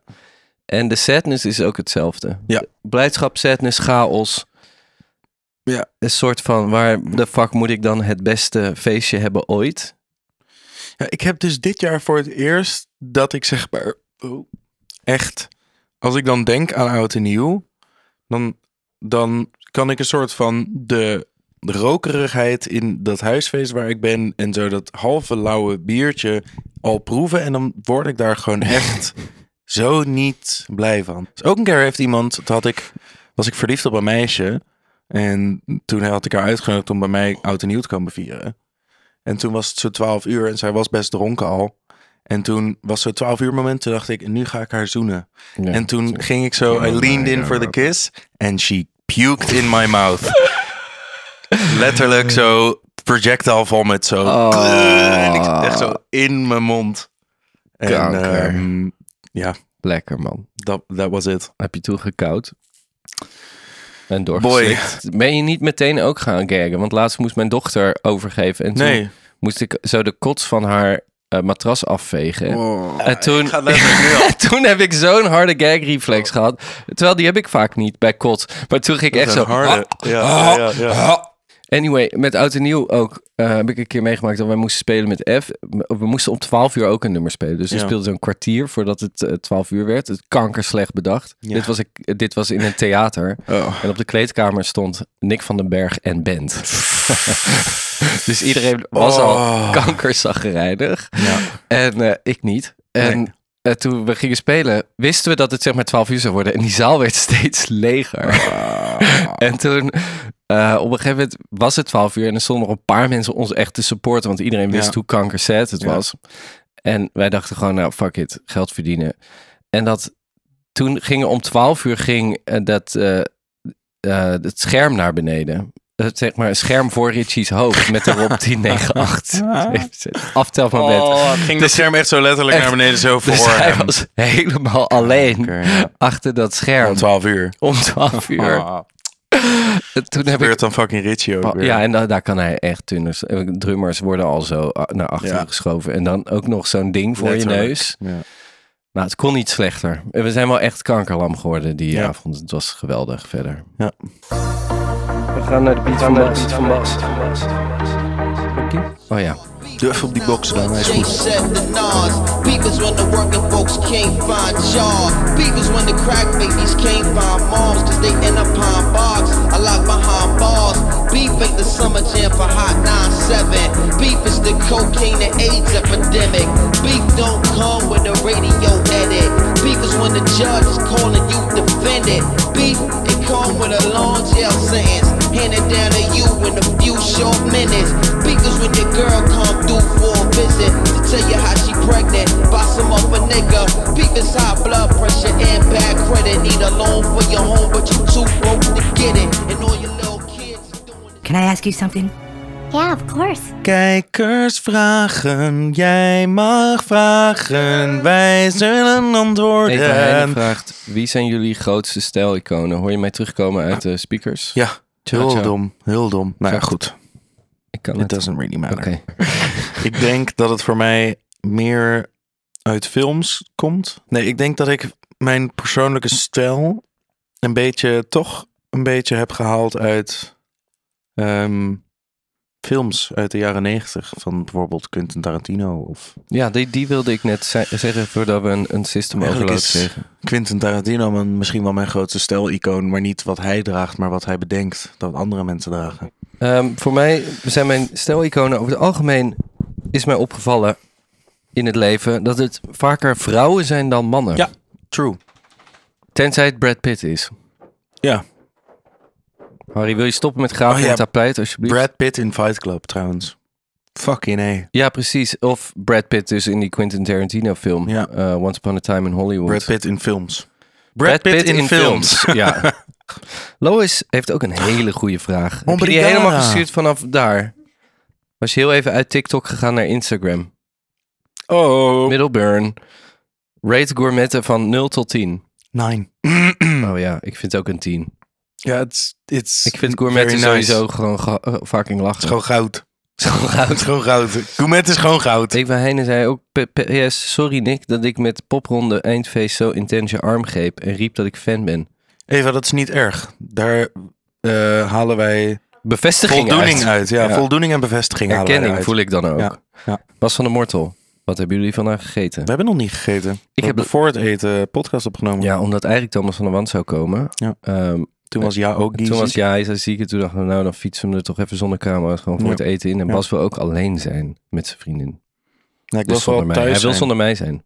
A: En de sadness is ook hetzelfde.
B: Ja.
A: Blijdschap, sadness, chaos.
B: Ja.
A: Een soort van waar de fuck moet ik dan het beste feestje hebben ooit?
B: Ja, ik heb dus dit jaar voor het eerst dat ik zeg maar oh, echt, als ik dan denk aan oud en nieuw, dan, dan kan ik een soort van de, de rokerigheid in dat huisfeest waar ik ben en zo dat halve lauwe biertje al proeven en dan word ik daar gewoon echt zo niet blij van. Dus ook een keer heeft iemand, toen had ik, was ik verliefd op een meisje en toen had ik haar uitgenodigd om bij mij oud en nieuw te komen vieren. En toen was het zo 12 uur en zij was best dronken al. En toen was zo 12 uur moment, toen dacht ik, en nu ga ik haar zoenen. en toen ging ik zo, I leaned in for the kiss and she puked in my mouth. Letterlijk zo projectile vomit, zo. En ik zat echt zo in mijn mond. En
A: Kanker.
B: ehm,
A: Lekker man.
B: dat dat was het.
A: Heb je toen gekoud? En doorgeslikt. Ben je niet meteen ook gaan gaggen? Want laatst moest mijn dochter overgeven. En toen
B: Nee.
A: moest ik zo de kots van haar eh, matras afvegen.
B: Wow.
A: En toen,
B: Oh. Ik ga letterlijk nu al.
A: en toen heb ik zo'n harde gag reflex gehad. Terwijl die heb ik vaak niet bij kot. Maar toen ging ik echt
B: Dat
A: zo.
B: is een harde. Ja, ja, ja.
A: Anyway, met Oud en Nieuw ook eh, heb ik een keer meegemaakt dat wij moesten spelen met F. We moesten om 12 uur ook een nummer spelen. Dus we
B: Ja.
A: speelden zo'n kwartier voordat het eh, 12 uur werd. Het kanker slecht bedacht.
B: Ja.
A: Dit, was ik, dit was in een theater.
B: Oh.
A: En op de kleedkamer stond Nick van den Berg en Band. dus iedereen was al
B: Oh.
A: kankerzaggerijdig.
B: Ja.
A: En eh, ik niet. En
B: Nee.
A: eh, toen we gingen spelen, wisten we dat het zeg maar 12 uur zou worden. En die zaal werd steeds leger.
B: Ah.
A: En toen, eh, op een gegeven moment was het 12 uur en er stonden nog een paar mensen ons echt te supporten, want iedereen wist
B: Ja.
A: hoe kankerzet het
B: Ja.
A: was. En wij dachten gewoon, nou fuck it, geld verdienen. En dat toen ging er om 12 uur ging eh, dat, eh, eh, het scherm naar beneden. Eh, Zeg maar een scherm voor Richie's hoofd met erop 10, 9, 8. Aftelmoment.
B: Oh, ging de scherm echt zo letterlijk
A: Dus Echt.
B: naar beneden zo voor
A: dus hij
B: hem.
A: was helemaal alleen Ehm,
B: Oké, ja.
A: achter dat scherm
B: Om 12 uur.
A: om 12 uur.
B: Ah,
A: En Toen heb ik Ah,
B: gebeurt dan fucking Richie ook weer.
A: Ja, en da- daar kan hij echt tunners. eh, Drummers worden al zo a- naar achteren
B: Ja.
A: geschoven. En dan ook nog zo'n ding voor je
B: Letterlijk.
A: neus.
B: Ja.
A: Nou, het kon niet slechter. En We zijn wel echt kankerlam geworden die
B: Ja.
A: avond. Het was geweldig verder.
B: Ja.
A: We gaan naar de beat van Bas. Van Bas. Oh ja.
B: Duf op die box dan, hij is
F: Jay
B: goed.
F: said the Nas. Beef is when the working folks can't find jobs. Beef is when the crack babies can't find moms, cause they end up behind bars. A lot behind bars. Beef ain't the summer jam for Hot 9-7. Beef is the cocaine and AIDS epidemic. Beef don't come with a radio edit. Beef is when the judge is calling you defendant. Beef can come with a long jail sentence. Handed down to you in a few short minutes. Beef is when your girl come through for a visit to tell you how she pregnant. Boss him off a nigga. Beef is high blood pressure and bad credit. Need a loan for your home, but you too broke to get it. And all your little kids is doing it.
G: Can I ask you something?
D: Yeah, of course.
B: Kijkersvragen, jij mag vragen, wij zullen
A: Even Heine
B: antwoorden.
A: vraagt, wie zijn jullie grootste stijliconen? Hoor je mij terugkomen uit de speakers?
B: Ja,
A: Ciao,
B: heel
A: ciao.
B: dom, heel dom. Nou ja,
A: Zegt-
B: goed.
A: Ik kan
B: It
A: het.
B: doesn't really matter.
A: Oké.
B: Ik denk dat het voor mij meer uit films komt. Nee, ik denk dat ik mijn persoonlijke stijl een beetje, toch een beetje heb gehaald uit ehm, films uit de jaren negentig. Van bijvoorbeeld Quentin Tarantino of...
A: Ja, die, die wilde ik net ze- zeggen voordat we een, een system
B: Eigenlijk
A: overload
B: is-
A: kregen.
B: Quentin Tarantino mijn, misschien wel mijn grootste stijl-icoon, maar niet wat hij draagt, maar wat hij bedenkt dat andere mensen dragen.
A: Ehm, voor mij zijn mijn stijliconen over het algemeen is mij opgevallen in het leven dat het vaker vrouwen zijn dan mannen.
B: Ja. True.
A: Tenzij het Brad Pitt is.
B: Ja.
A: Harry, wil je stoppen met graven
B: Oh
A: in
B: ja,
A: het tapijt alsjeblieft?
B: Brad Pitt in Fight Club trouwens. Fucking hé.
A: Ja, precies. Of Brad Pitt dus in die Quentin Tarantino film
B: Ja.
A: eh, Once Upon a Time in Hollywood.
B: Brad Pitt in films.
A: ja. Lois heeft ook een hele goede vraag. Heb je die
B: Obrigada.
A: helemaal gestuurd vanaf daar? Was je heel even uit TikTok gegaan naar Instagram?
B: Oh.
A: Middleburn. Rate gourmetten van 0 tot 10.
B: Nine. Mm.
A: Oh ja, ik vind ook een 10.
B: Ja, het is.
A: Ik vind gourmetten sowieso gewoon ga- eh, fucking lachen.
B: gewoon goud.
A: Schoon
B: Het is gewoon goud. Gourmet is gewoon goud.
A: Ik van Heijnen zei ook, P- PS, sorry Nick, dat ik met popronde eindfeest zo intens je arm greep en riep dat ik fan ben.
B: Eva, dat is niet erg. Daar eh, halen wij
A: Bevestiging
B: voldoening uit.
A: uit.
B: Ja,
A: Ja.
B: voldoening en bevestiging halen wij
A: Erkenning
B: eruit.
A: voel ik dan ook.
B: Ja, ja.
A: Bas van de Mortel, wat hebben jullie vandaag gegeten?
B: We hebben nog niet gegeten. Ik
A: heb-
B: heb voor het eten podcast opgenomen.
A: Ja, omdat eigenlijk Thomas van der Wand zou komen.
B: Ja.
A: Ehm,
B: Toen was ja ook die
A: toen was
B: ziek.
A: ja, hij zei ziek en toen dachten we, nou dan fietsen we er toch even zonder camera's gewoon voor
B: Ja.
A: het eten in. En
B: Ja.
A: Bas wil ook alleen zijn met zijn vriendin.
B: Ja, ik
A: Dus
B: was wel
A: zonder mij.
B: thuis.
A: Hij wil
B: zijn.
A: zonder mij zijn.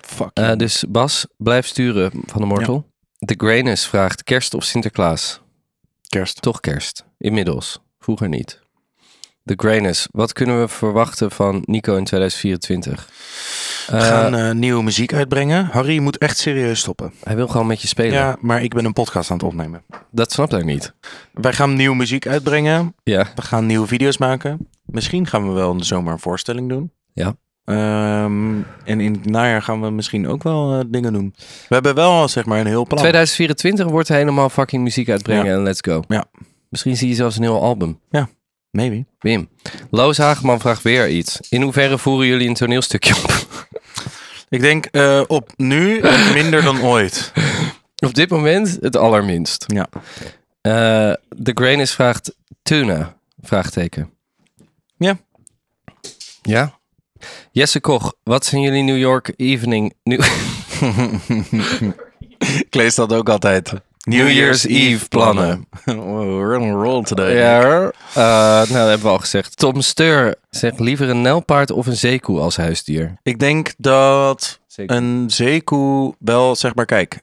B: Fuck.
A: Eh,
B: ja.
A: dus Bas, blijf sturen van de Mortel. De Grainers vraagt kerst of Sinterklaas?
B: Kerst.
A: Toch kerst. Inmiddels. Vroeger niet. De Grainers, wat kunnen we verwachten van Nico in 2024?
B: We
A: Eh,
B: gaan eh, nieuwe muziek uitbrengen. Harry je moet echt serieus stoppen.
A: Hij wil gewoon met je spelen.
B: Ja, maar ik ben een podcast aan het opnemen.
A: Dat snapt hij niet.
B: Wij gaan nieuwe muziek uitbrengen.
A: Ja.
B: We gaan nieuwe video's maken. Misschien gaan we wel in de zomer een voorstelling doen.
A: Ja.
B: Ehm, en in het najaar gaan we misschien ook wel eh, dingen doen. We hebben wel zeg maar een heel plan.
A: 2024 wordt hij helemaal fucking muziek uitbrengen en let's go.
B: Ja.
A: Misschien zie je zelfs een heel album.
B: Ja. Maybe.
A: Wim, Loos Hageman vraagt weer iets. In hoeverre voeren jullie een toneelstukje op?
B: Ik denk eh, op nu en minder dan ooit.
A: op dit moment het allerminst.
B: Ja.
A: Eh The Grainis vraagt tuna? Vraagteken.
B: Ja.
A: Ja? Jesse Koch, wat zijn jullie New York evening... New,
B: Ik lees dat ook altijd. New Year's Eve plannen. Wow, we're on a roll today.
A: Ja. hoor. Eh, nou, dat hebben we al gezegd. Tom Steur zegt liever een nelpaard of een zeekoe als huisdier.
B: Ik denk dat
A: Zeekoe.
B: een zeekoe wel, zeg maar, kijk.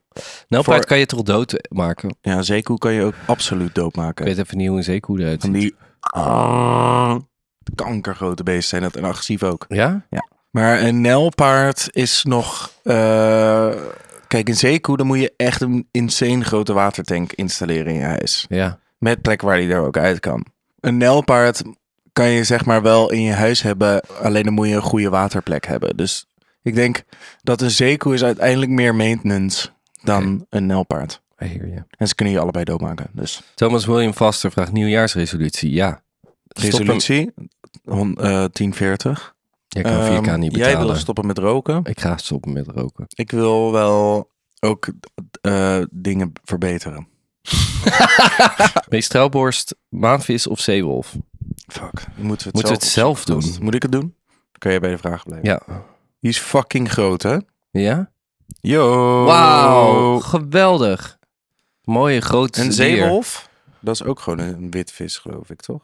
A: Nelpaard
B: Voor-
A: kan je toch doodmaken? Ik
B: Ja, een zeekoe kan je ook absoluut doodmaken.
A: weet even niet hoe een zeekoe eruit
B: Van
A: ziet.
B: die ah, kankergrote beesten zijn dat en agressief ook.
A: Ja?
B: Maar een nijlpaard is nog... eh, kijk, een zeekoe, dan moet je echt een insane grote watertank installeren in je huis.
A: Ja.
B: Met plek waar die er ook uit kan. Een nijlpaard kan je zeg maar wel in je huis hebben, alleen dan moet je een goede waterplek hebben. Dus ik denk dat een zeekoe is uiteindelijk meer maintenance dan een nijlpaard.
A: I hear you.
B: En ze kunnen je allebei doodmaken. Dus
A: Thomas William Foster vraagt nieuwjaarsresolutie. Ja. Stop hem-
B: resolutie hon- eh, 1040.
A: Ja, ik kan 4K
B: Ehm,
A: niet
B: Jij
A: betalen.
B: wil stoppen met roken.
A: ik ga stoppen met roken.
B: Ik wil wel ook eh, dingen verbeteren.
A: Meest trouwborst, maanvis of zeewolf?
B: Fuck. Moeten we het,
A: Moeten we het zelf doen?
B: opzoeken? Moet ik het doen? Kan jij bij de vraag blijven?
A: Ja.
B: Die is fucking groot, hè?
A: Ja?
B: Yo.
A: Wauw, geweldig. Mooie grote
B: Een
A: dier.
B: zeewolf? Dat is ook gewoon een wit vis, geloof ik, toch?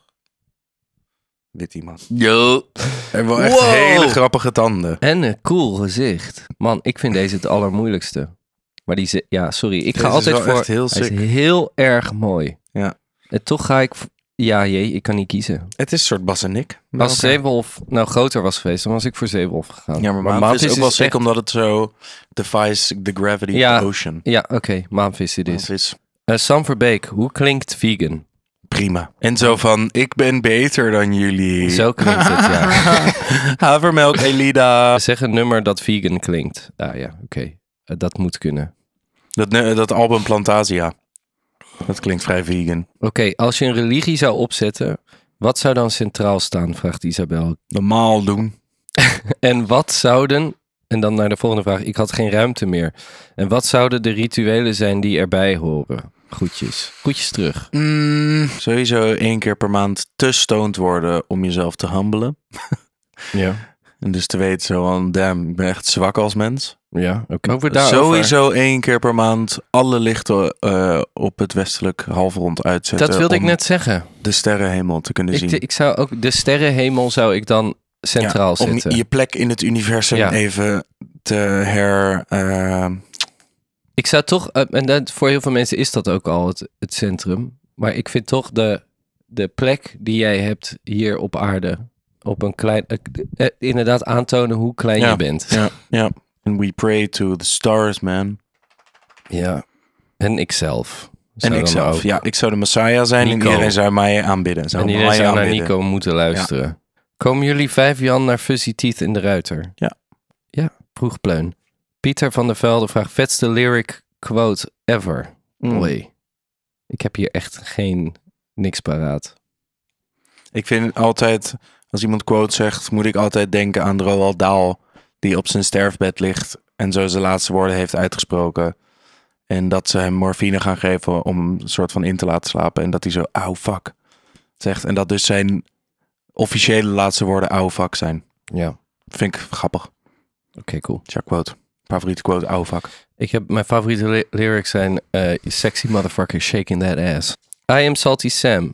B: Wit iemand.
A: Yo.
B: En wel echt
A: Wow.
B: hele grappige tanden.
A: En een cool gezicht. Man, ik vind deze het allermoeilijkste. Maar die ze ja, sorry. Ik ga
B: Deze is
A: altijd
B: wel
A: voor.
B: echt heel
A: Hij is
B: sick.
A: heel erg mooi.
B: Ja.
A: En toch ga ik. v- Ja, jee, ik kan niet kiezen.
B: Het is een soort Bas en Nick. bij
A: Als
B: elkaar.
A: zeewolf nou groter was geweest, dan was ik voor zeewolf gegaan.
B: Ja, maar, maanvis, is dus ook wel sick, omdat het zo defies the gravity
A: Ja.
B: of the ocean.
A: Ja, oké, maanvis dit is.
B: Maanvis.
A: Eh, Sam Verbeek, hoe klinkt vegan?
B: prima. En zo van, ik ben beter dan jullie.
A: Zo klinkt het, ja.
B: Havermelk, Elida.
A: Zeg een nummer dat vegan klinkt. Ah ja, oké. Eh, dat moet kunnen.
B: Dat, ne- dat album Plantasia. Dat klinkt vrij vegan.
A: Oké, als je een religie zou opzetten, wat zou dan centraal staan? Vraagt Isabel.
B: Normaal doen.
A: En wat zouden. En dan naar de volgende vraag. Ik had geen ruimte meer. En wat zouden de rituelen zijn die erbij horen? Groetjes. Groetjes terug.
B: sowieso één keer per maand te stoned worden om jezelf te humbelen.
A: Ja.
B: En dus te weten zo van, damn, ik ben echt zwak als mens.
A: Ja, oké. Over
B: Sowieso één keer per maand alle lichten eh, op het westelijk halfrond uitzetten.
A: Dat wilde ik
B: eh, om
A: net zeggen.
B: de sterrenhemel te kunnen
A: Ik,
B: zien.
A: ik zou ook de sterrenhemel zou ik dan centraal
B: Ja,
A: zetten.
B: Om je plek in het universum
A: Ja.
B: even te her... eh,
A: Ik zou toch, eh, en dat, voor heel veel mensen is dat ook al het, het centrum. Maar ik vind toch de, de plek die jij hebt hier op aarde, op een klein, eh, eh, inderdaad aantonen hoe klein
B: Ja.
A: je bent.
B: ja, ja. And we pray to the stars, man.
A: Ja. En ikzelf.
B: En
A: Zou dan
B: ikzelf.
A: ook-
B: Ja, ik zou de Messiah zijn en
A: Nico.
B: iedereen zou mij aanbidden. Zou
A: En iedereen
B: mij
A: zou naar
B: aanbidden.
A: Nico moeten luisteren. Komen jullie 5 Jan naar Fuzzy Teeth in de Ruiter?
B: Ja.
A: Ja, vroeg Pleun. Pieter van der Velde vraagt vetste lyric quote ever.
B: Mm.
A: Oei. Ik heb hier echt geen niks paraat.
B: Ik vind altijd, als iemand quote zegt, moet ik altijd denken aan Roald Dahl. Die op zijn sterfbed ligt en zo zijn laatste woorden heeft uitgesproken. En dat ze hem morfine gaan geven om hem een soort van in te laten slapen. En dat hij zo, auw fuck, zegt. En dat dus zijn officiële laatste woorden, auw fuck, zijn.
A: Ja, oké,
B: Vind ik grappig.
A: cool.
B: Tja, quote. Favoriete quote, auw fuck.
A: Ik heb, mijn favoriete ly- lyrics zijn eh, Sexy motherfucker shaking that ass. I am Salty Sam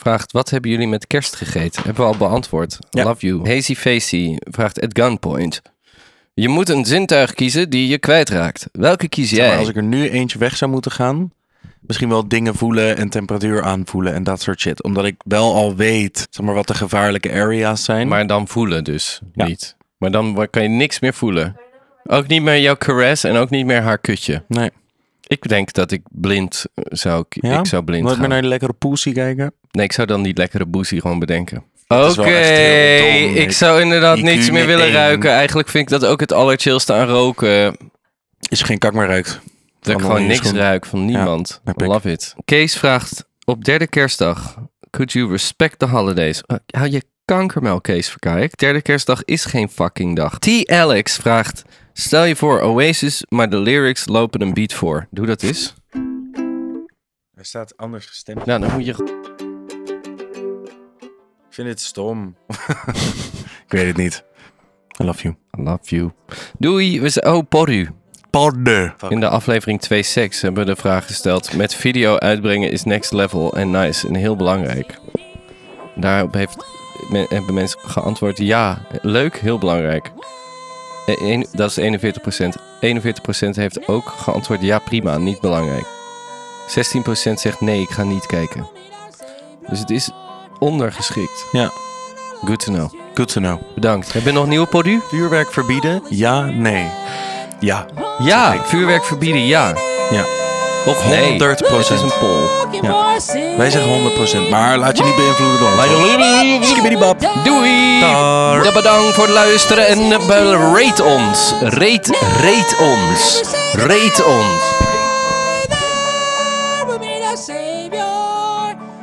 A: vraagt, wat hebben jullie met kerst gegeten? Hebben we al beantwoord.
B: Ja.
A: Love you. Hazy Facey vraagt at gunpoint. Je moet een zintuig kiezen die je kwijtraakt. Welke kies
B: Zeg
A: jij?
B: Maar als ik er nu eentje weg zou moeten gaan, misschien wel dingen voelen en temperatuur aanvoelen en dat soort shit. Omdat ik wel al weet, zeg maar, wat de gevaarlijke areas zijn.
A: Maar dan voelen dus
B: Ja.
A: niet. Maar dan wa- kan je niks meer voelen. Ook niet meer jouw caress en ook niet meer haar kutje.
B: nee,
A: Ik denk dat ik blind eh, zou... ki-
B: Ja?
A: Ik zou blind
B: nooit
A: gaan.
B: meer naar die lekkere poesie kijken.
A: Nee, ik zou dan die lekkere boezie gewoon bedenken.
B: is
A: Oké,
B: wel echt heel dom.
A: ik zou inderdaad
B: IQ
A: niets meer
B: met
A: willen
B: één.
A: ruiken. Eigenlijk vind ik dat ook het allerchillste aan roken.
B: Is er geen kak meer ruikt.
A: Dat ik
B: onder
A: gewoon
B: je
A: niks
B: schoen.
A: ruik van niemand.
B: snap ik.
A: Love it. Kees vraagt, op derde kerstdag Could you respect the holidays? Uh, hou je kankermel, Kees Verkaik. Derde kerstdag is geen fucking dag. T. Alex vraagt... Stel je voor Oasis, maar de lyrics lopen een beat voor. Doe dat eens.
B: Er staat anders gestemd.
A: Nou, dan moet je...
B: Ik vind dit stom. ik weet het niet. I love you.
A: I love you. Doei, we zijn... Oh, Porru.
B: Pardon.
A: In de aflevering 2 Seks hebben we de vraag gesteld... Met video uitbrengen is next level en nice en heel belangrijk. Daarop heeft, me- hebben mensen geantwoord... Ja, leuk, heel belangrijk. E- een- dat is 41%. 41% heeft ook geantwoord... Ja, prima, niet belangrijk. 16% zegt nee, ik ga niet kijken. Dus het is ondergeschikt.
B: Ja.
A: Good to know.
B: Good to know.
A: Bedankt. Heb je nog nieuwe podu?
B: Vuurwerk verbieden? Ja, nee. Ja.
A: Ja, vuurwerk verbieden, ja.
B: Ja.
A: Of nee.
B: 100%.
A: Het is een poll.
B: Wij zeggen 100%, maar laat je niet beïnvloeden door ons. Skibidibab.
A: Doei!
B: Daar.
A: De bedankt voor het luisteren en eh, be- rate ons. Rate, rate ons. Rate ons.
G: Savior, we need a savior.